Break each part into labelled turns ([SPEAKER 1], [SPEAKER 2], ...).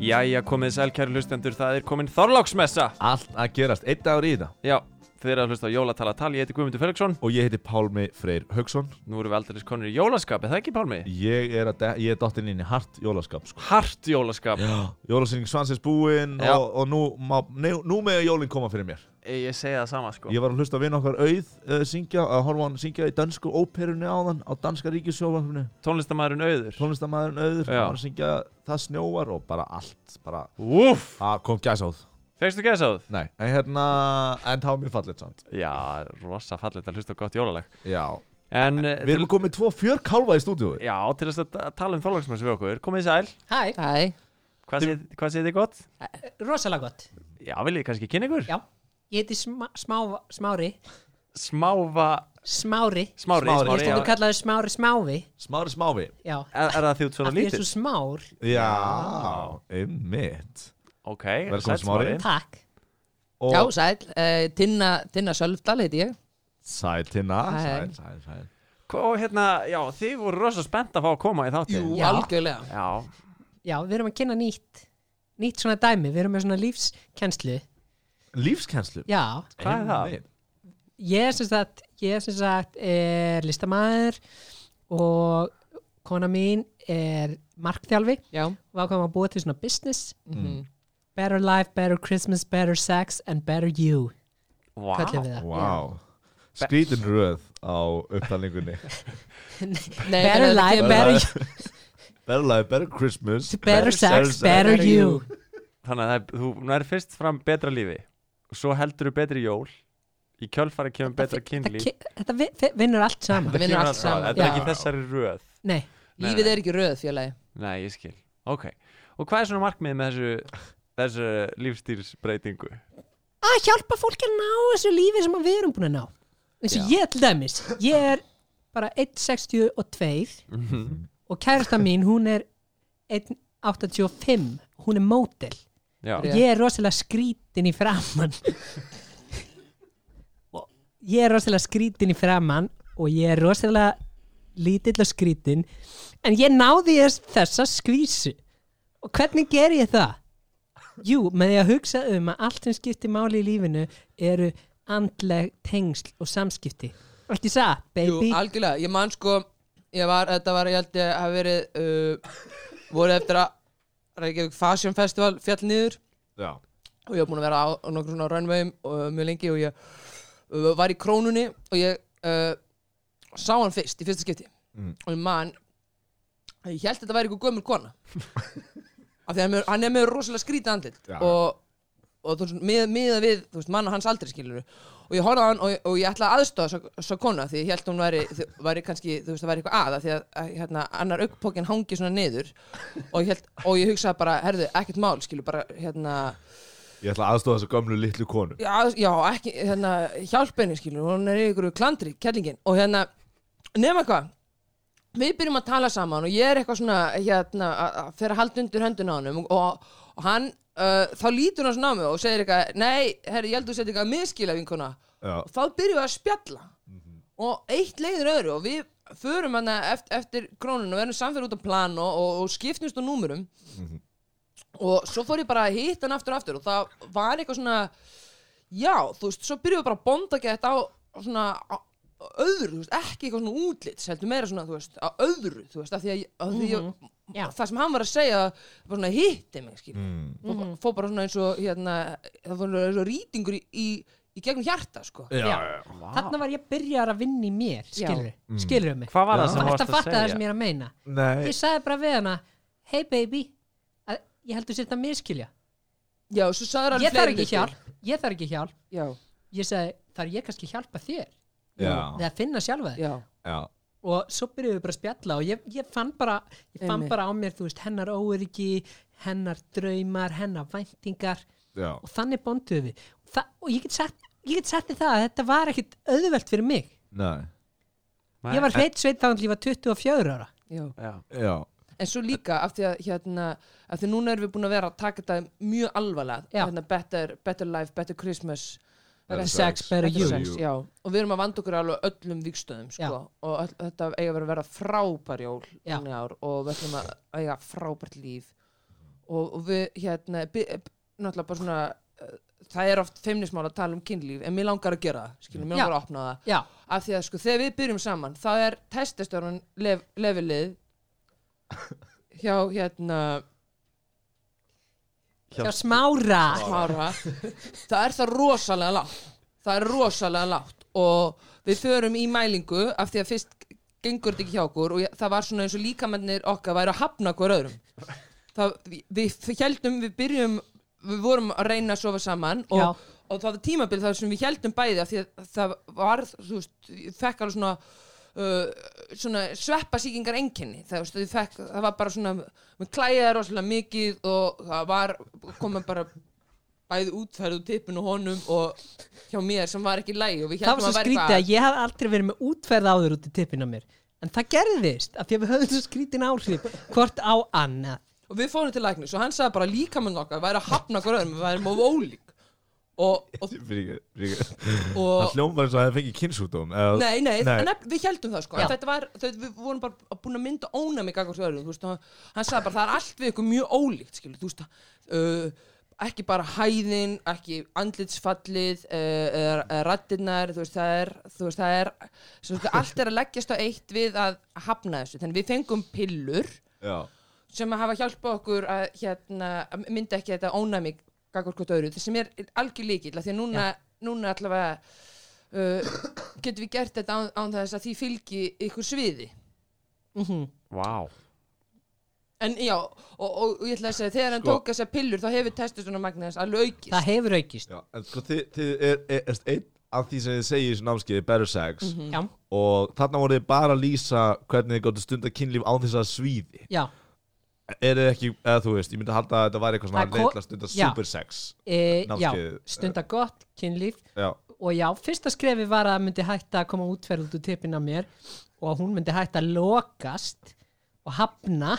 [SPEAKER 1] Jæja, komið sæl kæru hlustendur, það er komin Þorláksmessa
[SPEAKER 2] Allt að gerast, einn dagur í þetta
[SPEAKER 1] Já, þið eru að hlusta á Jólatala tal, ég heiti Guðmundur Felixson
[SPEAKER 2] Og ég heiti Pálmi Freyr Haugsson
[SPEAKER 1] Nú erum við aldrei konur í jólaskap, er það ekki Pálmi?
[SPEAKER 2] Ég er, að de- ég er dottinn inn í hart jólaskap sko.
[SPEAKER 1] Hart jólaskap
[SPEAKER 2] Jólasynning svansins búinn
[SPEAKER 1] Já.
[SPEAKER 2] og, og nú, má, nei, nú með jólinn koma fyrir mér
[SPEAKER 1] Ég, ég segi það sama sko
[SPEAKER 2] Ég var að hlusta vinn okkar auð uh, syngja, að horfa á hann syngja í dansku óperunni áðan á danska ríkisjófarfinu
[SPEAKER 1] Tónlistamæðurinn auður
[SPEAKER 2] tónlistamæðurinn auður,
[SPEAKER 1] Já.
[SPEAKER 2] hann var að syngja það snjóar og bara allt bara,
[SPEAKER 1] Úff,
[SPEAKER 2] að kom gæsáð
[SPEAKER 1] fegstu gæsaðu?
[SPEAKER 2] Nei, en hérna, en það var mjög fallit samt
[SPEAKER 1] Já, rosa fallegt að hlusta á gott jólalag
[SPEAKER 2] Já,
[SPEAKER 1] En, eh,
[SPEAKER 2] við erum komið tvo fjörkálfa í stúdíu
[SPEAKER 1] já, til þess að ta- tala um Þorláksmessa við okkur, komið sæl
[SPEAKER 3] Hæ,
[SPEAKER 4] Hæ,
[SPEAKER 1] Hvað segið hvað segið þið gott?
[SPEAKER 3] rosalega gott.
[SPEAKER 1] Já, viljið þið kannski kynna ykkur?
[SPEAKER 3] Já, ég heiti sma, smá, Smári.
[SPEAKER 1] Smáva,
[SPEAKER 3] Smári.
[SPEAKER 1] smári,
[SPEAKER 2] Smári,
[SPEAKER 3] Ég
[SPEAKER 1] já.
[SPEAKER 3] stundu kallaði Smári Smávi.
[SPEAKER 2] Smári smáfi
[SPEAKER 3] Já,
[SPEAKER 1] Er, er það því út svona
[SPEAKER 3] af því ég er
[SPEAKER 1] lítið?
[SPEAKER 3] svo smár.
[SPEAKER 2] Já, einmitt
[SPEAKER 1] Ok,
[SPEAKER 2] Velkomin,
[SPEAKER 1] sæll,
[SPEAKER 2] Smári.
[SPEAKER 3] Takk.
[SPEAKER 2] Og
[SPEAKER 4] já sæl, uh, Tinna, Tinna Sölvdal heiti ég
[SPEAKER 2] sæl Tinna,
[SPEAKER 4] Hæ.
[SPEAKER 2] sæl, sæl, sæl
[SPEAKER 1] Og hérna, já, þið voru rosa spennt að fá að koma í þáttið
[SPEAKER 4] Jú,
[SPEAKER 3] Já.
[SPEAKER 4] algjörlega
[SPEAKER 1] Já,
[SPEAKER 3] Já, við erum að kynna nýtt, nýtt svona dæmi. Við erum með svona lífskenslu.
[SPEAKER 2] Lífskenslu
[SPEAKER 3] Já,
[SPEAKER 1] Hvað er það?
[SPEAKER 2] Einmitt.
[SPEAKER 3] ég sem sagt, ég sem sagt er listamæður og kona mín er markþjálfi
[SPEAKER 4] Já,
[SPEAKER 3] og ákvæm að búa til svona business.
[SPEAKER 4] mhm.
[SPEAKER 3] Better life, better Christmas, better sex and better you.
[SPEAKER 1] Vá.
[SPEAKER 3] Kallum við það.
[SPEAKER 2] Vá Skrítin röð á upptalningunni
[SPEAKER 4] Nei,
[SPEAKER 3] Better
[SPEAKER 4] en það
[SPEAKER 3] life,
[SPEAKER 4] kemur-
[SPEAKER 3] better you.
[SPEAKER 2] Better life, better Christmas
[SPEAKER 3] Better sex, better
[SPEAKER 4] better
[SPEAKER 3] you
[SPEAKER 1] Þannig að það er, þú nær fyrst fram betra lífi og svo heldur þú betri jól í kjölfara kemur betra
[SPEAKER 3] Þetta
[SPEAKER 1] kynlíf
[SPEAKER 3] ke- Þetta vi- vi- vinnur allt saman
[SPEAKER 4] Þetta vinnur
[SPEAKER 1] kemur
[SPEAKER 4] allt
[SPEAKER 1] alltaf-
[SPEAKER 4] saman.
[SPEAKER 1] Þetta er
[SPEAKER 3] Já.
[SPEAKER 1] ekki þessari röð
[SPEAKER 3] Nei,
[SPEAKER 1] Nei,
[SPEAKER 4] Lífið
[SPEAKER 1] nei.
[SPEAKER 4] er ekki röð fjölaði
[SPEAKER 1] Nei, ég skil Ok, og hvað er svona markmið með þessu þessu lífstýrsbreytingu?
[SPEAKER 3] að hjálpa fólki að ná þessu lífi sem að við erum búin að ná eins og
[SPEAKER 4] Já.
[SPEAKER 3] ég til dæmis, ég er bara 1.62 og kærasta mín hún er 1.85 hún er mótel
[SPEAKER 1] Já,
[SPEAKER 4] Já.
[SPEAKER 3] ég er rosalega skrítin í framann og ég er rosalega skrítin í framann og ég er rosalega lítill og skrítin en ég náði þess- þessa skvísu og hvernig ger ég það? Jú, með því að hugsa um að allt sem skiptir máli í lífinu eru andleg tengsl og samskipti ekki það,
[SPEAKER 4] Jú,
[SPEAKER 3] baby?
[SPEAKER 4] algjörlega, ég man sko Ég var, þetta var, ég held ég hafi verið uh, Voru eftir að Reykjavík Fashion Festival fjall niður
[SPEAKER 2] Já
[SPEAKER 4] og ég var búin að vera á, á nokkur svona runwayum uh, mjög lengi og ég uh, var í krónunni og ég uh, sá hann fyrst í fyrsta skipti
[SPEAKER 2] Mm.
[SPEAKER 4] og ég man að ég held þetta væri einhver gömul kona af því að hann er- hann er með rosalega skrítið andlit
[SPEAKER 2] Já.
[SPEAKER 4] og, og þú veist, mið, miða við þú veist, manna hans aldrei skilur og ég horfði á hann og, ég- og ég ætlaði aðstofa svo, svo kona því ég held hún væri, þ- væri kannski, þú veist, það væri eitthvað að af því að, að hérna, annar augpókin hangi svona niður og ég, held, og ég hugsaði bara, herðu, ekkert mál skilur, bara, hérna
[SPEAKER 2] Ég ætla að aðstofa þessu gömlu litlu konu
[SPEAKER 4] já, já, ekki, hérna, hjálp henni skilur, hún er í ykkur klandri, kellingin og hérna, nema hvað við byrjum að tala saman og ég er eitthvað svona, hérna, að- að fer að halda undir höndun á hann og, og hann uh, þá lítur hann svona á mig og segir eitthvað nei, herri, ég held þú seti eitthvað að miskila vinkona
[SPEAKER 2] Já,
[SPEAKER 4] og þá byrjum við að spjalla og eitt leiðir öðru og við förum hann eftir, eftir krónun og verðum samferð út á plan og, og, og skiptumst á númurum og svo fór ég bara að hitta hann aftur og aftur og það var eitthvað svona já, þú veist, svo byrjum við bara að bonda gett á á svona á, á öðru, þú veist, ekki eitthvað svona útlits heldur meira svona, þú veist, á öðru þú veist, af því að, ég- af því að mm
[SPEAKER 3] Já.
[SPEAKER 4] það sem hann var að segja var svona hitti mig, skil mm -hmm. fór bara svona eins og hérna, það fór eins og rýtingur í, í, í gegnum hjarta, sko
[SPEAKER 2] já,
[SPEAKER 3] Já.
[SPEAKER 2] já, já.
[SPEAKER 3] Þarna var ég byrjar að vinna í mér skilur, skilur mig
[SPEAKER 1] Hvað var það
[SPEAKER 2] Já.
[SPEAKER 1] sem
[SPEAKER 3] Þú ert að
[SPEAKER 1] varst
[SPEAKER 3] fatta
[SPEAKER 1] að
[SPEAKER 3] það sem
[SPEAKER 1] segja?
[SPEAKER 3] ég er að meina
[SPEAKER 2] Nei
[SPEAKER 3] Ég sagði bara við hana Hey baby, að ég heldur sér þetta miskilja
[SPEAKER 4] Já, svo sagður hann
[SPEAKER 3] Ég þarf ekki hjálp, ég þarf ekki hjálp
[SPEAKER 4] Já,
[SPEAKER 3] Ég sagði, þarf ég kannski að hjálpa þér
[SPEAKER 2] Já,
[SPEAKER 3] Við að finna sjálfa þér
[SPEAKER 4] já,
[SPEAKER 2] já,
[SPEAKER 3] Og svo byrjuðum við bara að spjalla Og ég, ég fann bara, ég fann
[SPEAKER 4] Einmitt.
[SPEAKER 3] bara á mér Þú veist, hennar óöryggi, hennar draumar Hennar væntingar
[SPEAKER 2] já
[SPEAKER 3] Og þannig bonduðum við Þa, Og ég get sagt, ég get sagt þér það að Þetta var ekkit auðvelt fyrir mig
[SPEAKER 2] Nei,
[SPEAKER 1] Nei, eh,
[SPEAKER 3] Ég var hreitt sveit þannig að ég var 24 ára
[SPEAKER 4] já.
[SPEAKER 1] Já,
[SPEAKER 2] já
[SPEAKER 4] En svo líka af því að hérna, af því núna erum við búin að vera að taka þetta mjög alvarlega,
[SPEAKER 3] Já.
[SPEAKER 4] hérna better, better life, better Christmas,
[SPEAKER 3] Better sex, better
[SPEAKER 4] better
[SPEAKER 3] you.
[SPEAKER 4] sex, já, og við erum að vanda okkur alveg öllum vikstöðum, sko, og öll, þetta eiga að vera að vera frábær jól um
[SPEAKER 3] Já.
[SPEAKER 4] inni ár og við ætlum að eiga frábært líf og, og við hérna bi- eh, náttúrulega bara svona eh, það er oft feimnismál að tala um kynlíf en mér langar að gera það, skilum, mér
[SPEAKER 3] Já.
[SPEAKER 4] langar að opna það
[SPEAKER 3] já,
[SPEAKER 4] af því að sko þegar við byrjum saman þá er testestörun lef, levelið hjá hérna
[SPEAKER 3] hjá smára
[SPEAKER 4] smára það er það rosalega lágt það er rosalega lágt og við förum í mælingu af því að fyrst gengur þetta ekki hjá okkur og ég- það var svona eins og líkamennir okkar væri að hafna hver öðrum það, við, við heldum, við byrjum við vorum að reyna að sofa saman
[SPEAKER 3] Já.
[SPEAKER 4] og, og það var tímabil þar sem við heldum bæði af því að það var, þú veist, ég fekk alveg svona uh, svona sveppasíkingar enginni það, veist, ég fekk, það var bara svona mér klæjaði rosalega mikið og það var, komum bara bæði útferð úr tippinu honum og hjá mér sem var ekki lægi og við
[SPEAKER 3] það var
[SPEAKER 4] heldum
[SPEAKER 3] svo
[SPEAKER 4] að væri
[SPEAKER 3] skrítið að ég haf aldrei verið með útferð áður út í tippin á mér en það gerðist af því að við höfum svo skrítin áhrif hvort á annað
[SPEAKER 4] og við fórum til læknis og hann sagði bara líkamann okkar væri að hafna hver öðrum, við værum of ólík og, og,
[SPEAKER 5] Fyrir- fyrir- Það
[SPEAKER 4] og
[SPEAKER 5] hljómar eins og að það fengi kynnsútum eða,
[SPEAKER 4] Nei, nei,
[SPEAKER 5] Nei.
[SPEAKER 4] En, við heldum það sko
[SPEAKER 3] Já.
[SPEAKER 4] En þetta var, þau, við vorum bara að búin að mynda ónæmi gagvart öðrum, þú veist, og hann sagði bara það er allt við ykkur mjög ólíkt, skilur, þú veist uh, ekki bara hæðin ekki andlitsfallið uh, rattinnar, þú veist, það er þú veist, það er, svo, veist, allt er að leggjast á eitt við að hafna þessu þannig við fengum pillur
[SPEAKER 5] Já,
[SPEAKER 4] sem að hafa hjálpað okkur að, hérna, að mynda ekki þetta ónæmi gagvart hvort öðru, það sem er algjör líkil því að núna, núna allavega uh, getum við gert þetta án, án þess að því fylgi ykkur sviði
[SPEAKER 1] Vá
[SPEAKER 4] en já, og, og, og ég ætla að segja þegar hann
[SPEAKER 5] Sko.
[SPEAKER 4] tók þessar pillur þá hefur testosterona magnaðis alveg aukist
[SPEAKER 3] það hefur aukist
[SPEAKER 5] já, en sko þið, þið er, er, er einn af því sem þið segir í þessu námskeiði Better Sex
[SPEAKER 4] Mhm.
[SPEAKER 3] já,
[SPEAKER 5] og þarna voru þið bara að lýsa hvernig þið gáttu stunda kynlíf án þess að svíði
[SPEAKER 3] já
[SPEAKER 5] er þið ekki, eða þú veist, ég myndi halda að þetta væri eitthvað
[SPEAKER 3] Það
[SPEAKER 5] svona
[SPEAKER 3] ko-
[SPEAKER 5] leitla stunda
[SPEAKER 3] já.
[SPEAKER 5] super sex
[SPEAKER 3] e, já,
[SPEAKER 5] Námskeiðið.
[SPEAKER 3] stunda gott kynlíf
[SPEAKER 5] Já,
[SPEAKER 3] og já, fyrsta skrefi var að myndi hætta að koma útferð út úr tippin á mér og að hún myndi hætta að lokast og hafna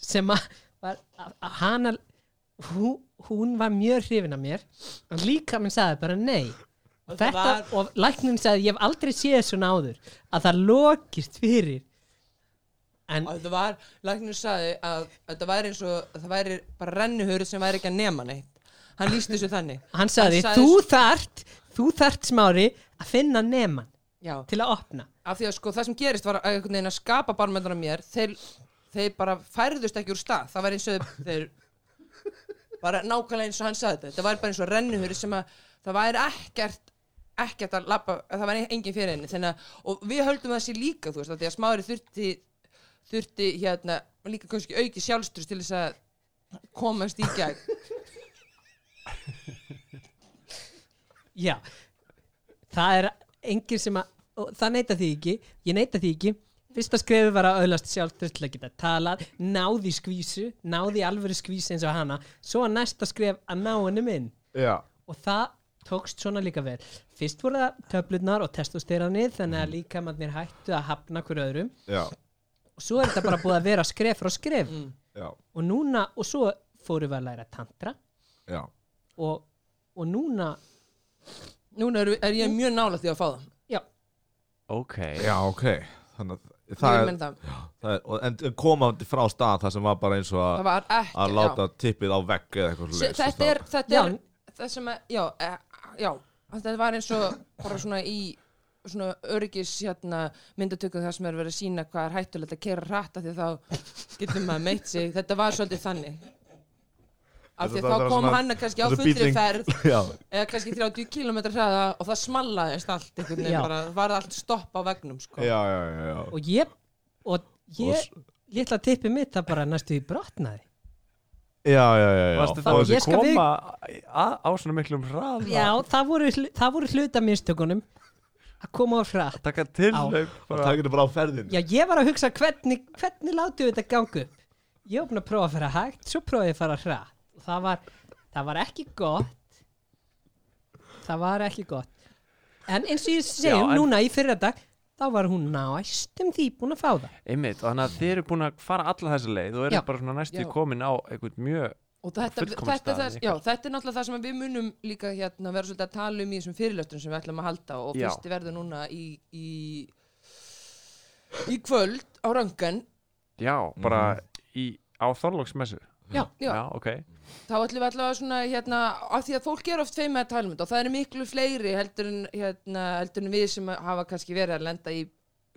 [SPEAKER 3] sem að var að- að hana hún, hún var mjög hrifin af mér en líka minn sagði bara nei og,
[SPEAKER 4] það
[SPEAKER 3] þetta, og læknin sagði ég hef aldrei séð svona áður að það lokist fyrir en
[SPEAKER 4] og þetta var, læknir sagði að, að þetta væri eins og, að það væri bara rennuhörð sem væri ekki að nema neitt hann líst þessu þannig
[SPEAKER 3] hann sagði,
[SPEAKER 4] sagði-
[SPEAKER 3] þú þart þú þart smári að finna neman
[SPEAKER 4] já,
[SPEAKER 3] til að opna
[SPEAKER 4] af því að sko það sem gerist var að einhvern veginn að skapa barmöndan á mér þeir, þeir bara færðust ekki úr stað það var eins og þeir bara nákvæmlega eins og hann sagði þetta það var bara eins og rennuhur sem að það væri ekkert ekkert að labba, að það væri engin fyrir henni þannig að, og við höldum þessi líka þú veist, af því að smári þurfti þurfti hérna, líka kannski auki sjálfstrust til þess að komast í gegn
[SPEAKER 3] Já, það er enginn sem að, og það neyta því ekki, ég neyta því ekki, fyrsta skrefi var að öðlast sjálf til að geta talað, náði skvísu, náði alvöru skvísu eins og hana, svo að næsta skref að ná henni minn
[SPEAKER 5] já,
[SPEAKER 3] og það tókst svona líka vel. Fyrst voru það töflurnar og testosteranið þannig að líka mannir hættu að hafna hver öðrum
[SPEAKER 5] já,
[SPEAKER 3] og svo er þetta bara búið að vera skref frá skref
[SPEAKER 5] já,
[SPEAKER 3] og núna, og svo fórum við að læra tantra
[SPEAKER 5] já.
[SPEAKER 3] og, og núna,
[SPEAKER 4] núna er, er ég mjög nála því að fá það
[SPEAKER 3] já,
[SPEAKER 1] Ok
[SPEAKER 5] Já, ok Þannig að
[SPEAKER 4] það,
[SPEAKER 5] það er,
[SPEAKER 4] er, það.
[SPEAKER 5] það er og- en, en komandi frá stað það sem var bara eins og að,
[SPEAKER 4] það var ekki
[SPEAKER 5] að
[SPEAKER 4] já.
[SPEAKER 5] láta tippið á vegg eða eitthvað
[SPEAKER 4] Se-
[SPEAKER 5] svoleiðis,
[SPEAKER 4] þetta
[SPEAKER 5] það-
[SPEAKER 4] er, þetta
[SPEAKER 3] Já.
[SPEAKER 4] er það sem að, já, e, já þetta var eins og bara svona í svona öryggis hérna myndatökum það sem er verið að sína hvað er hættulegt að kera rætta því þá getur maður meitt sig, þetta var svolítið þannig af því
[SPEAKER 5] Þetta
[SPEAKER 4] að þá
[SPEAKER 5] var
[SPEAKER 4] kom
[SPEAKER 5] svona-
[SPEAKER 4] hann kannski á
[SPEAKER 5] þessi
[SPEAKER 4] fullri
[SPEAKER 5] bílling.
[SPEAKER 4] ferð
[SPEAKER 5] Já,
[SPEAKER 4] eða kannski 30 km hraða og það smallaðist allt einhvern
[SPEAKER 3] Já.
[SPEAKER 4] veginn bara, var allt stopp á vegnum sko.
[SPEAKER 5] já, já, já, já.
[SPEAKER 3] og ég og
[SPEAKER 5] Og
[SPEAKER 3] ég,
[SPEAKER 5] s-
[SPEAKER 3] litla tippi mitt það bara næstu í brotnaði
[SPEAKER 5] já, já, já, já.
[SPEAKER 1] Varstu
[SPEAKER 3] Þá-
[SPEAKER 1] þá að
[SPEAKER 3] ég skal við-
[SPEAKER 1] koma að, á svona miklum hraða
[SPEAKER 3] já, það voru, hlu- það voru hluta mistökunum að koma á hratt
[SPEAKER 1] Takka tilhlaup
[SPEAKER 5] og það getur bara á ferðin
[SPEAKER 3] já, ég var að hugsa hvernig, hvernig látum við þetta gangu upp? ég opna að prófa að fara hægt svo prófaði ég að fara hratt og það var, það var ekki gott það var ekki gott en eins og ég
[SPEAKER 1] Já,
[SPEAKER 3] segjum
[SPEAKER 1] en-
[SPEAKER 3] núna í fyrra dag þá var hún næstum því búin að fá það
[SPEAKER 1] Einmitt, og þannig að þið eru búin að fara alla þessa leið og eru
[SPEAKER 3] Já.
[SPEAKER 1] bara svona næstu
[SPEAKER 4] Já.
[SPEAKER 1] komin á einhvern mjög
[SPEAKER 4] og þetta,
[SPEAKER 1] Fullkomin
[SPEAKER 4] þetta,
[SPEAKER 1] staður
[SPEAKER 4] það,
[SPEAKER 1] líka.
[SPEAKER 4] já, þetta er náttúrulega það sem við munum líka hérna vera svolítið að tala um í þessum fyrirlöstunum sem við ætlum að halda og
[SPEAKER 1] Já.
[SPEAKER 4] fyrsti verður núna í, í, í kvöld á röngan
[SPEAKER 5] Mhm.
[SPEAKER 1] já, bara í, á Þorlóksmessu
[SPEAKER 3] Já,
[SPEAKER 4] Já.
[SPEAKER 1] Mm. Já, ok
[SPEAKER 4] þá ætlum við allavega svona hérna, af því að fólk er oft feim með að tala um þetta og það eru miklu fleiri heldur en, hérna, heldur en við sem hafa kannski verið að lenda í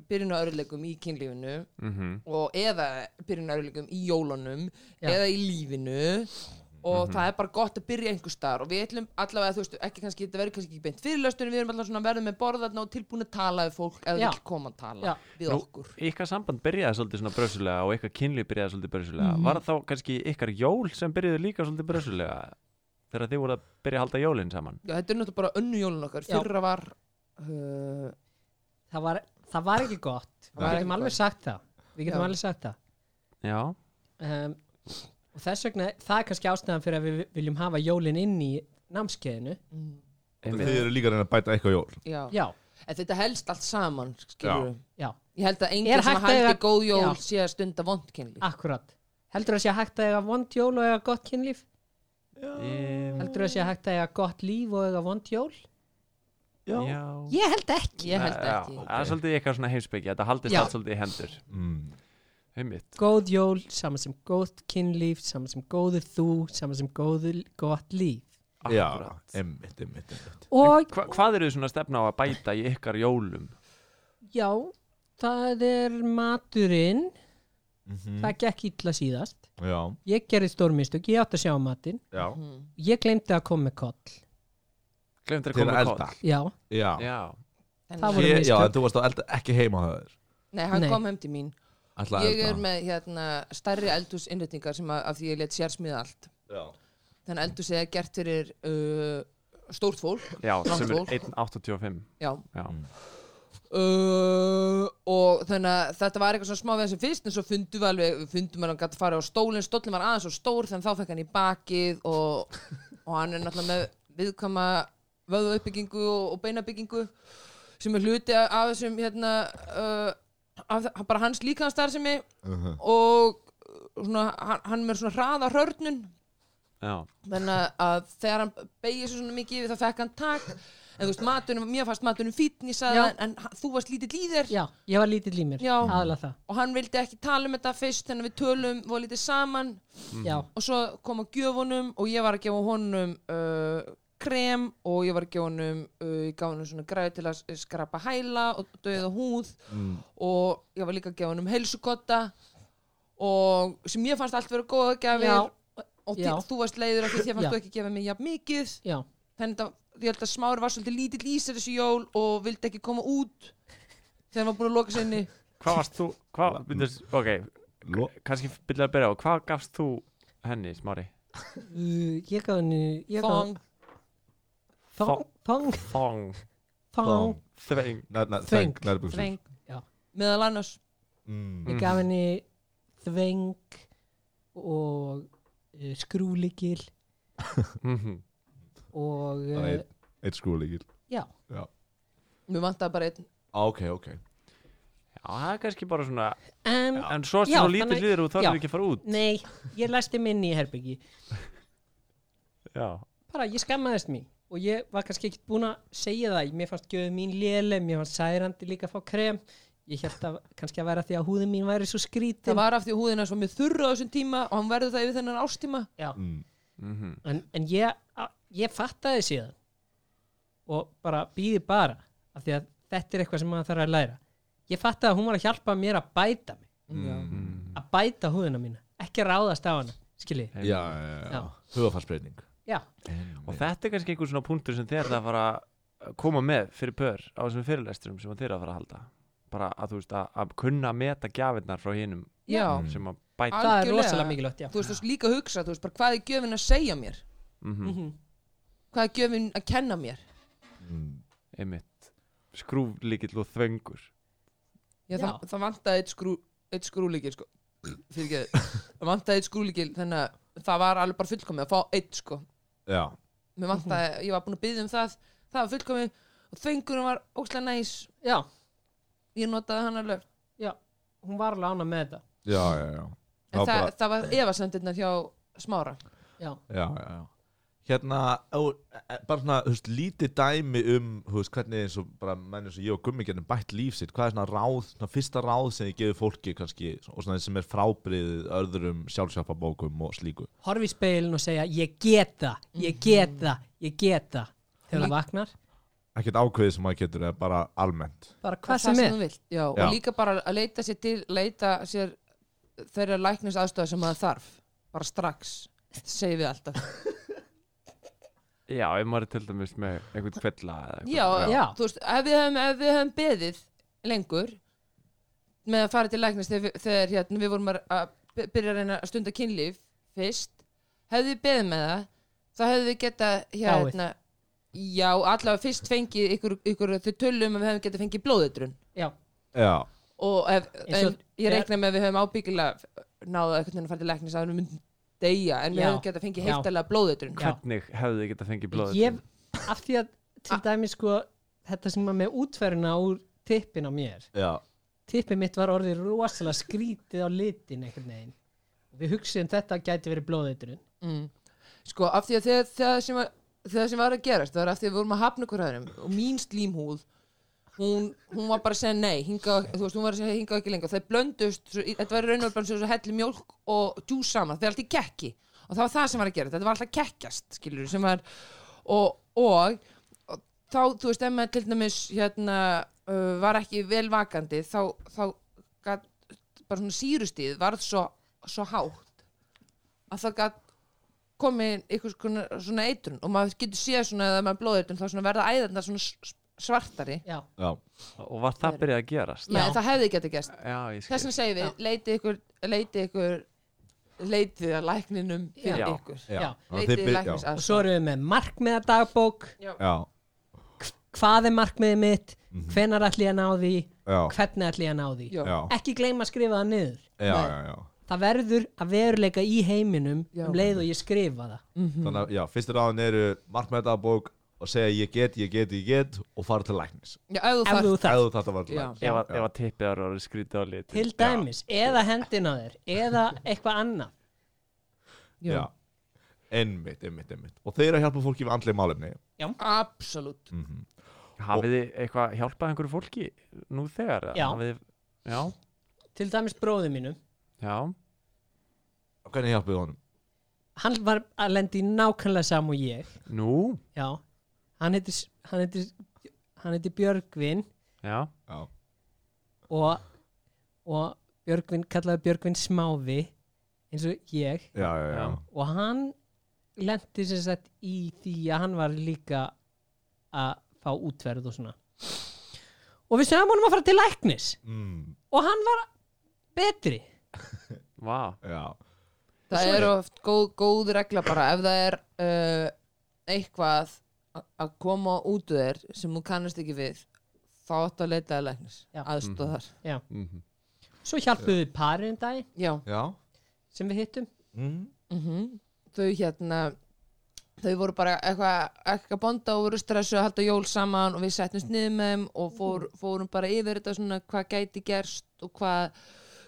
[SPEAKER 4] byrjun á öruleikum í kynlífinu
[SPEAKER 1] mm
[SPEAKER 4] og eða byrjun á öruleikum í jólunum
[SPEAKER 3] Já.
[SPEAKER 4] eða í lífinu og
[SPEAKER 3] Mhm.
[SPEAKER 4] það er bara gott að byrja einhver starf og við ætlum allavega, þú veist, ekki kannski þetta verður kannski ekki beint fyrirlöstur en við erum allavega svona verðum með borðarna og tilbúin að tala við fólk ef
[SPEAKER 3] Já.
[SPEAKER 4] það vil koma að tala
[SPEAKER 3] Já.
[SPEAKER 4] við
[SPEAKER 1] Nú-
[SPEAKER 4] okkur
[SPEAKER 1] Ykkar samband byrjaði svolítið svona brösulega og ykkar kynlíf byrjaði svolítið brösulega Var þá kannski ykkar jól sem byrjuðu líka svolítið brösulega þegar þið voru að byrja að halda jólin saman
[SPEAKER 4] Já, þetta er náttúrulega bara önnu jólun okkar
[SPEAKER 3] Já.
[SPEAKER 4] fyrra var uh,
[SPEAKER 3] það var, það var ekki gott
[SPEAKER 4] var
[SPEAKER 3] Við
[SPEAKER 4] ekki
[SPEAKER 3] getum alveg
[SPEAKER 4] gott.
[SPEAKER 3] sagt það Við getum
[SPEAKER 4] Já.
[SPEAKER 3] alveg sagt það
[SPEAKER 1] Já,
[SPEAKER 3] um, og þess vegna það er kannski ástæðan fyrir að við viljum hafa jólin inn í námskeiðinu
[SPEAKER 4] mm,
[SPEAKER 5] Þið
[SPEAKER 1] einmitt
[SPEAKER 5] eru líka að reyna að bæta eitthvað jól
[SPEAKER 4] já.
[SPEAKER 3] já,
[SPEAKER 4] En þetta helst allt saman, skilur við.
[SPEAKER 3] já,
[SPEAKER 4] Ég held að
[SPEAKER 3] Er
[SPEAKER 4] enginn sem
[SPEAKER 3] hægt að
[SPEAKER 4] haldi
[SPEAKER 3] eiga-
[SPEAKER 4] góð jól
[SPEAKER 3] Já. Ah,
[SPEAKER 4] sé að stunda vondkynli.
[SPEAKER 3] akkurat heldur það sé hægt að eiga vond jól og eiga gott kynlíf
[SPEAKER 1] Em,
[SPEAKER 3] heldur það sé hægt að eiga gott líf og eiga vond jól
[SPEAKER 2] Já,
[SPEAKER 1] Já
[SPEAKER 3] ég held ekki
[SPEAKER 4] Ég held
[SPEAKER 1] Já,
[SPEAKER 4] ekki.
[SPEAKER 1] Það er svolítið eitthvað svona heimsbyggi Þetta haldist
[SPEAKER 3] Já.
[SPEAKER 1] allt svolítið í hendur
[SPEAKER 5] mm.
[SPEAKER 1] Einmitt
[SPEAKER 3] góð jól, saman sem góð kynlíf saman sem góður þú, saman sem góður gott líf
[SPEAKER 5] Já,
[SPEAKER 1] Akkúrat.
[SPEAKER 5] emmitt, emmitt, emmitt
[SPEAKER 3] og
[SPEAKER 1] Hva, Hvað eru þið svona að stefna á að bæta í ykkar jólum?
[SPEAKER 3] já, það er maturinn það gekk illa síðast
[SPEAKER 5] Mhm. Já,
[SPEAKER 3] ég gerði stórmistök, ég átti að sjá matinn
[SPEAKER 5] já,
[SPEAKER 3] ég glemdi að koma með koll
[SPEAKER 1] Glemt að
[SPEAKER 5] til
[SPEAKER 1] koma
[SPEAKER 5] að
[SPEAKER 1] með
[SPEAKER 5] elda
[SPEAKER 3] já,
[SPEAKER 5] Já,
[SPEAKER 1] Já,
[SPEAKER 3] það
[SPEAKER 4] En,
[SPEAKER 3] voru
[SPEAKER 5] Ég- já,
[SPEAKER 3] mistök.
[SPEAKER 5] en þú varst að elda ekki heima á þaður
[SPEAKER 4] nei, hann
[SPEAKER 3] Nei.
[SPEAKER 4] kom heim til mín.
[SPEAKER 5] Ætla að
[SPEAKER 4] Ég er
[SPEAKER 5] elda
[SPEAKER 4] með hérna, stærri eldhúsinnréttingar sem að, af því ég let sér smíða allt.
[SPEAKER 5] Já.
[SPEAKER 4] Þannig að eldhús er gert fyrir uh, stórt fólk.
[SPEAKER 1] já sem er
[SPEAKER 4] Langt fólk.
[SPEAKER 1] 1.85
[SPEAKER 4] Já.
[SPEAKER 1] Já,
[SPEAKER 4] Uh, og þannig að þetta var eitthvað svona smá við sem fyrst en svo fundum við alveg, við fundum alveg að hann gæti farið á stólinn, stólinn var aðeins og stór þannig að þá fekk hann í bakið og, og hann er náttúrulega með viðkama vöðuuppbyggingu og, og beinabyggingu sem er hluti af, af þessum hérna uh, af, þa- bara hans líkanstarfsemi Uh-huh.
[SPEAKER 5] Mhm.
[SPEAKER 4] og uh, svona, hann, hann er með svona hraða hörnun
[SPEAKER 1] já,
[SPEAKER 4] þannig að- að þegar hann beigir sér svona mikið yfir þá fekk hann tak en þú veist matunum, mér fannst matunum fítn ég sagði
[SPEAKER 3] Já.
[SPEAKER 4] það en, en hann- þú varst lítill í þér
[SPEAKER 3] já, ég var lítill í mér
[SPEAKER 4] Já.
[SPEAKER 3] aðla það,
[SPEAKER 4] og hann vildi ekki tala um þetta fyrst þannig að við tölum, voru lítið saman
[SPEAKER 3] já,
[SPEAKER 4] og svo kom að gjöfunum og ég var að gefa honum uh, krem og ég var að gefa honum uh, ég gaf honum svona græði til að s- skrapa hæla og döða húð og ég var líka að gefa honum heilsukotta og sem ég fannst allt vera góða gefir
[SPEAKER 3] Já.
[SPEAKER 4] og
[SPEAKER 3] Já.
[SPEAKER 4] því, þú varst leiður af því því að
[SPEAKER 3] Já.
[SPEAKER 4] fannst þú ekki gefa mig jafn mikið
[SPEAKER 3] já,
[SPEAKER 4] þannig að ég held að Smári var svolítið lítill í sér þessu jól og vildi ekki koma út þegar hann var búin að loka sinni
[SPEAKER 1] Hvað varst þú, hvað, byrjus, ok,
[SPEAKER 5] Lo-
[SPEAKER 1] kannski byrjaði að byrja á, hvað gafst þú henni, Smári?
[SPEAKER 3] Uh, ég gaf henni ég gaf-
[SPEAKER 4] þong
[SPEAKER 3] Þong, þong,
[SPEAKER 1] Þong,
[SPEAKER 3] þong
[SPEAKER 1] þveng,
[SPEAKER 5] Næ- næ-
[SPEAKER 3] Þveng.
[SPEAKER 5] Þeng, nærbuxur
[SPEAKER 4] Þveng
[SPEAKER 3] Já.
[SPEAKER 4] Meðal annars
[SPEAKER 5] Mm.
[SPEAKER 1] Mhm,
[SPEAKER 3] ég gaf henni þveng og uh, skrúligil
[SPEAKER 1] mhm,
[SPEAKER 3] og
[SPEAKER 5] Bara
[SPEAKER 3] uh,
[SPEAKER 5] einn. Eitt skrúleikil
[SPEAKER 3] já,
[SPEAKER 4] Mér vantaði bara einn
[SPEAKER 5] Ok, ok
[SPEAKER 1] já, það er kannski bara svona,
[SPEAKER 3] en
[SPEAKER 1] en svo erstu
[SPEAKER 3] Já,
[SPEAKER 1] svo lítill
[SPEAKER 3] þannig-
[SPEAKER 1] í þér og þá
[SPEAKER 3] já.
[SPEAKER 1] erum við ekki að fara út.
[SPEAKER 3] nei, ég læsti minni í herbyggi
[SPEAKER 1] Já,
[SPEAKER 3] bara ég skammaðist mín og ég var kannski ekkert búin að segja það mér fannst gjöðu mín léle, mér fannst særandi líka að fá krem ég held að kannski að vera því að húðin mín væri svo
[SPEAKER 4] Það
[SPEAKER 3] skrítin
[SPEAKER 4] var af því að húðina var mjög þurra á þessum tíma og hann verður það yfir þennan ástíma
[SPEAKER 5] mm.
[SPEAKER 1] mhm,
[SPEAKER 3] en, en ég, á- ég fattaði síðan og bara býði bara af því að þetta er eitthvað sem maður þarf að læra ég fattaði að hún var að hjálpa mér að bæta mig
[SPEAKER 4] mm.
[SPEAKER 3] að bæta húðina mína, ekki ráðast á hana skiljið,
[SPEAKER 5] Já, já, já, já.
[SPEAKER 3] Já.
[SPEAKER 5] Hugafarsbreyting
[SPEAKER 3] já,
[SPEAKER 1] Og þetta er kannski einhver svona punktur sem þér það að fara að koma með fyrir pör á þessum fyrirlesturum sem þér að fara að halda. Bara að þú veist að, að kunna að meta gjafirnar frá hinnum
[SPEAKER 4] Já
[SPEAKER 5] Mm.
[SPEAKER 1] sem að bæta.
[SPEAKER 3] það er
[SPEAKER 4] Algjörlega.
[SPEAKER 3] rosalega mikilvægt já.
[SPEAKER 4] Þú veist þú veist, líka að hugsa Þú veist bara hvað er gjöfin að segja mér
[SPEAKER 1] Mhm.
[SPEAKER 3] Mhm.
[SPEAKER 4] Hvað er gjöfin að kenna mér
[SPEAKER 5] mm.
[SPEAKER 1] einmitt skrúflíkill og þvöngur
[SPEAKER 4] Já,
[SPEAKER 3] Já.
[SPEAKER 4] Það, það vantaði eitt skrú Eitt skrúlíkil sko Fyrir ekki Það vantaði eitt skrúlíkil Þannig að það var alveg bara fullkomið að fá eitt sko
[SPEAKER 5] Já,
[SPEAKER 4] Mér vantaði Ég var búin að byggja um það Það var fullkomið Og þengurinn var ókslega næs
[SPEAKER 3] já,
[SPEAKER 4] Ég notaði hann alveg
[SPEAKER 3] hún var alveg ána með þetta
[SPEAKER 5] já, já, já
[SPEAKER 4] En það,
[SPEAKER 5] bara-
[SPEAKER 4] það var efasendirna hjá Smára
[SPEAKER 3] já,
[SPEAKER 5] Já, já, já hérna, ó, e- bara svona, þú veist, lítið dæmi um, þú veist, hvernig eins og bara menn eins og ég og Gummi getum bætt líf sitt, hvað er svona ráð, svona fyrsta ráð sem þið gefið fólki kannski og svona sem er frábriðið öðrum sjálfsjálfabókum og slíku.
[SPEAKER 3] horfi í speilin og segja ég get það, ég get það, ég get það þegar það vaknar,
[SPEAKER 5] Ekkert ákveðið sem maður getur, eða bara almennt.
[SPEAKER 3] bara hvað sem er
[SPEAKER 4] þú vilt.
[SPEAKER 5] Já.
[SPEAKER 4] Já, og líka bara að leita sér til leita sér þeirra læknis aðstöða sem maður þarf bara strax, Þetta segjum við alltaf
[SPEAKER 1] Já, ef maður er til dæmis með einhvern kvilla eða eitthvað.
[SPEAKER 4] já,
[SPEAKER 3] Já.
[SPEAKER 4] þú veist, ef við höfum, ef við höfum beðið lengur með að fara til læknast þegar, við- þegar hérna, við vorum að- að by- byrja að reyna að stunda kynlíf fyrst, hefðu við beðið með það þá hefðu við getað hérna, já, allavega fyrst fengið ykkur, ykkur þau tölum að við hefum getað fengið blóðutrun
[SPEAKER 3] já,
[SPEAKER 5] Já,
[SPEAKER 4] og ef,
[SPEAKER 3] Eins og-
[SPEAKER 4] en, ég reikna með að við höfum ábyggilega náða einhvern veginn að fara til læknast að við myndum deyja, en við
[SPEAKER 3] Já.
[SPEAKER 4] hefum getað fengið
[SPEAKER 3] Já.
[SPEAKER 4] heiltalega blóðutrun
[SPEAKER 3] já.
[SPEAKER 1] Hvernig hefðu þið getað fengið blóðið?
[SPEAKER 3] ég, af því að
[SPEAKER 4] Ah.
[SPEAKER 3] til dæmi sko, þetta sem var með útferðina úr tippin á mér
[SPEAKER 5] já,
[SPEAKER 3] tippið mitt var orðið rosalega skrítið á litin einhvern veginn við hugsiðum þetta gæti verið blóðeitrun
[SPEAKER 4] mm. sko af því að þegar, þegar, sem, var, þegar sem var að gerast það var af því að við vorum að hafna ykkur öðrum og mín slímhúð hún, hún var bara að segja nei hinga, þú veist, hún var að segja hinga ekki lengur það blöndust, svo, í- þetta var raunverð bara svo svo helli mjólk og djús saman, það er alltaf kekki og það var það sem var að gera, þetta var alltaf kekkjast skilur, sem var og, og, og þá, þú veist, ef maður til dæmis hérna, uh, var ekki vel vakandi þá, þá gat, bara svona sírustíð varð svo, svo hátt að það gat komið einhvers konar svona eitrun og maður getur séð svona að maður blóðeitrun þá svona verða æðarnar svona s- svartari
[SPEAKER 3] já,
[SPEAKER 5] já,
[SPEAKER 1] Og var það byrjað að gerast?
[SPEAKER 4] Nei, það hefði getið gerst
[SPEAKER 1] Já, ég
[SPEAKER 4] þess
[SPEAKER 1] skil.
[SPEAKER 4] vegna segjum við, leitið ykkur leitið ykkur leitið að lækninum fyrir
[SPEAKER 1] Já.
[SPEAKER 4] ykkur
[SPEAKER 5] já.
[SPEAKER 3] Já.
[SPEAKER 5] Og þið
[SPEAKER 4] leitið
[SPEAKER 5] byrj-
[SPEAKER 4] læknis
[SPEAKER 3] og svo
[SPEAKER 4] aðstoð
[SPEAKER 3] erum við með markmiðadagbók
[SPEAKER 5] Já, já,
[SPEAKER 3] hvað er markmiðið mitt, hvenar ætli ég að ná því
[SPEAKER 5] Mhm. já,
[SPEAKER 3] hvernig ætli ég að ná því
[SPEAKER 4] Já.
[SPEAKER 5] já,
[SPEAKER 3] ekki gleyma að skrifa það niður
[SPEAKER 5] já, já, já.
[SPEAKER 3] það verður að veruleika í heiminum
[SPEAKER 4] Já.
[SPEAKER 3] um leið og ég skrifa það
[SPEAKER 4] Mhm.
[SPEAKER 5] Þannig að, já, fyrstu ráðin eru markmætabók og segja ég get, ég get, ég get og fara til læknis.
[SPEAKER 4] Já, ef þú
[SPEAKER 3] ef
[SPEAKER 4] þarft
[SPEAKER 3] þú
[SPEAKER 5] Ef
[SPEAKER 3] þarf
[SPEAKER 5] þú þarft að fara til
[SPEAKER 4] Já.
[SPEAKER 5] læknis.
[SPEAKER 1] Ef að- ef að tippið var orðið skrítið á litin.
[SPEAKER 3] til dæmis, eða hendina á þér eða eitthvað annað
[SPEAKER 4] Já.
[SPEAKER 5] Já, einmitt, einmitt, einmitt Og þeir eru að hjálpa fólki við andlega málefni Mhm.
[SPEAKER 4] absolutt
[SPEAKER 1] Hafið þið eitthvað hjálpað einhverju fólki nú þegar? eða?
[SPEAKER 3] Já.
[SPEAKER 1] Hafið þið, já,
[SPEAKER 3] til dæmis bróðum mínum
[SPEAKER 1] já.
[SPEAKER 5] Hvernig hjálpið honum?
[SPEAKER 3] hann var að lenda í nákvæmlega sam og ég
[SPEAKER 1] Nú,
[SPEAKER 3] já, hann heitir hann heitir, hann heitir Björgvin
[SPEAKER 1] já,
[SPEAKER 5] Já,
[SPEAKER 3] og, og Björgvin kallaði Björgvin smávi eins og ég
[SPEAKER 5] já, já, já,
[SPEAKER 1] Já.
[SPEAKER 3] og hann lendi sem sagt í því að hann var líka að fá útverð og svona og við sem honum að fara til læknis
[SPEAKER 5] Mm,
[SPEAKER 3] og hann var betri
[SPEAKER 1] vá.
[SPEAKER 5] já.
[SPEAKER 4] það er oft góð, góð regla bara ef það er uh, eitthvað a- að koma út úr þér sem þú kannast ekki við þá áttu að leita að læknis
[SPEAKER 3] Já.
[SPEAKER 4] aðstóð þar
[SPEAKER 1] Mhm.
[SPEAKER 3] svo hjálpuðu við parið um daginn
[SPEAKER 4] já,
[SPEAKER 5] já.
[SPEAKER 3] sem við hittum
[SPEAKER 5] Mm.
[SPEAKER 4] þau hérna þau voru bara eitthvað eitthvað bonda og voru stressu að halda jól saman og við settumst niður með þeim og fór, fórum bara yfir þetta svona hvað gæti gerst og hvað,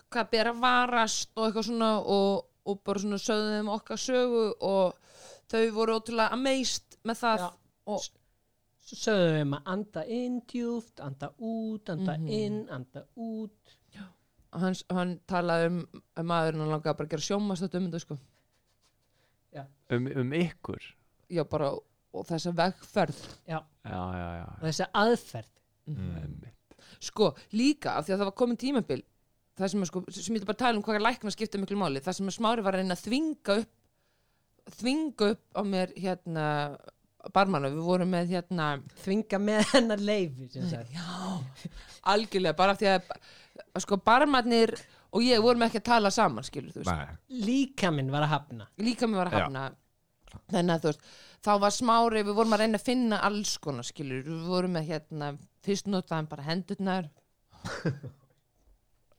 [SPEAKER 4] hvað ber að varast og eitthvað svona og, og bara svona sögðum þeim okkar sögu og þau voru ótrúlega amazed með það
[SPEAKER 3] Já.
[SPEAKER 4] og
[SPEAKER 3] svo sögðum við um að anda inn djúft anda út, anda
[SPEAKER 4] Mhm.
[SPEAKER 3] inn, anda út
[SPEAKER 4] hans, hann talaði um um maðurinn hann langaði bara að gera sjómast þetta um þetta sko
[SPEAKER 1] Um, um ykkur.
[SPEAKER 4] já bara og þessa vegferð
[SPEAKER 3] já, og
[SPEAKER 1] Já, já, já.
[SPEAKER 3] þessi aðferð
[SPEAKER 5] Mm.
[SPEAKER 1] Einmitt.
[SPEAKER 4] sko líka af því að það var komin tímabil það sem, er, sko, sem ég ætla bara að tala um hvað er lækna skipta miklu máli það sem að smári var að reyna að þvinga upp þvinga upp á mér hérna barmanna, við vorum með hérna
[SPEAKER 3] þvinga með hennar leifi sem sagt.
[SPEAKER 4] algjörlega, bara af því að sko barmannir og ég vorum ekki að tala saman skilur þú veist,
[SPEAKER 5] Nei,
[SPEAKER 3] líkaminn var að hafna
[SPEAKER 4] líka mér var að
[SPEAKER 5] Já.
[SPEAKER 4] hafna þannig að þú veist þá var smári, við vorum að reyna að finna alls konar skilur, við vorum með hérna fyrst notaðum bara hendurnar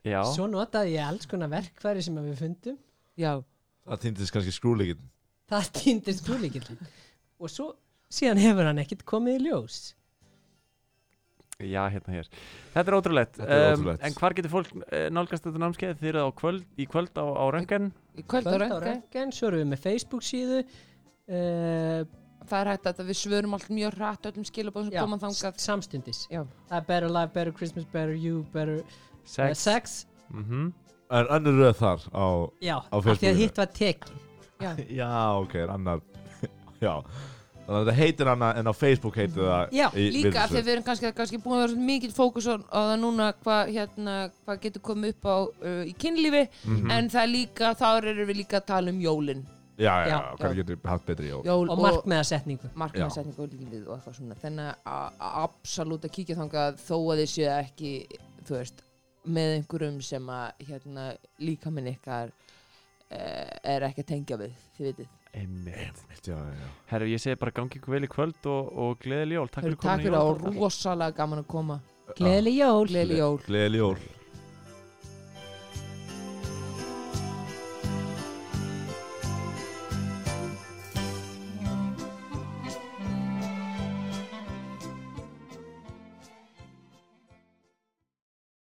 [SPEAKER 1] Já,
[SPEAKER 3] svo notaði ég alls konar verkfæri sem að við fundum
[SPEAKER 4] já,
[SPEAKER 5] það týndist kannski skrúleikin
[SPEAKER 3] það týndist trúleikillin og svo síðan hefur hann ekkert komið í ljós
[SPEAKER 1] já, hérna hér. Þetta er ótrúlegt.
[SPEAKER 5] Þetta er ótrúlegt.
[SPEAKER 1] en hvar getur fólk eh, nálgast þetta námskeið? Þið eru á kvöld, í kvöld á, á röngan?
[SPEAKER 4] í kvöld
[SPEAKER 3] Kvöld
[SPEAKER 4] á
[SPEAKER 3] á
[SPEAKER 4] röngu
[SPEAKER 3] röntgen, svo erum við með Facebook síðu uh,
[SPEAKER 4] það er hægt að við svörum allt mjög hratt öllum skilabóðum sem koma þangað
[SPEAKER 3] samstundis
[SPEAKER 4] Já.
[SPEAKER 3] það er better life, better Christmas, better you better sex, uh,
[SPEAKER 1] Sex
[SPEAKER 3] sex.
[SPEAKER 1] Mhm.
[SPEAKER 5] Er önnur röð þar á
[SPEAKER 3] já, af því
[SPEAKER 5] Facebookinu.
[SPEAKER 3] að hitt var tekið
[SPEAKER 5] Já, ok, er annar Já, þannig að þetta heitir annað en á Facebook heitir það
[SPEAKER 3] Já,
[SPEAKER 5] í-
[SPEAKER 4] líka af því að
[SPEAKER 5] virðisaukaskatt.
[SPEAKER 4] við erum kannski, kannski búin að vera svolítið mikill fókus á, á það núna hvað hérna, hva getur komið upp á uh, í kynlífi
[SPEAKER 5] Mm. Mhm.
[SPEAKER 4] en það er líka, þá erum við líka að tala um jólin
[SPEAKER 5] Já, já, já,
[SPEAKER 3] Já,
[SPEAKER 5] hvernig getur haft betri jól
[SPEAKER 4] Jól
[SPEAKER 3] og markmiðasetningu
[SPEAKER 4] markmannsetning og lífið og eitthvað svona þannig að absolutt að kíkja þangað þó að þið séu ekki þú veist, með einhverjum sem að hérna, líka minn ykkar eh, er ekki að tengja við þið vitið,
[SPEAKER 1] Einmitt.
[SPEAKER 5] Já, já, já
[SPEAKER 1] Herru, ég segi bara gangi ykkur vel í kvöld og, og gleðileg jól Takk
[SPEAKER 4] Heyrðu,
[SPEAKER 1] fyrir
[SPEAKER 4] takk
[SPEAKER 1] komin í
[SPEAKER 4] fyrir
[SPEAKER 1] jól
[SPEAKER 4] og rosalega gaman að koma
[SPEAKER 3] gleðileg jól
[SPEAKER 4] gleðli jól
[SPEAKER 5] Gleðileg jól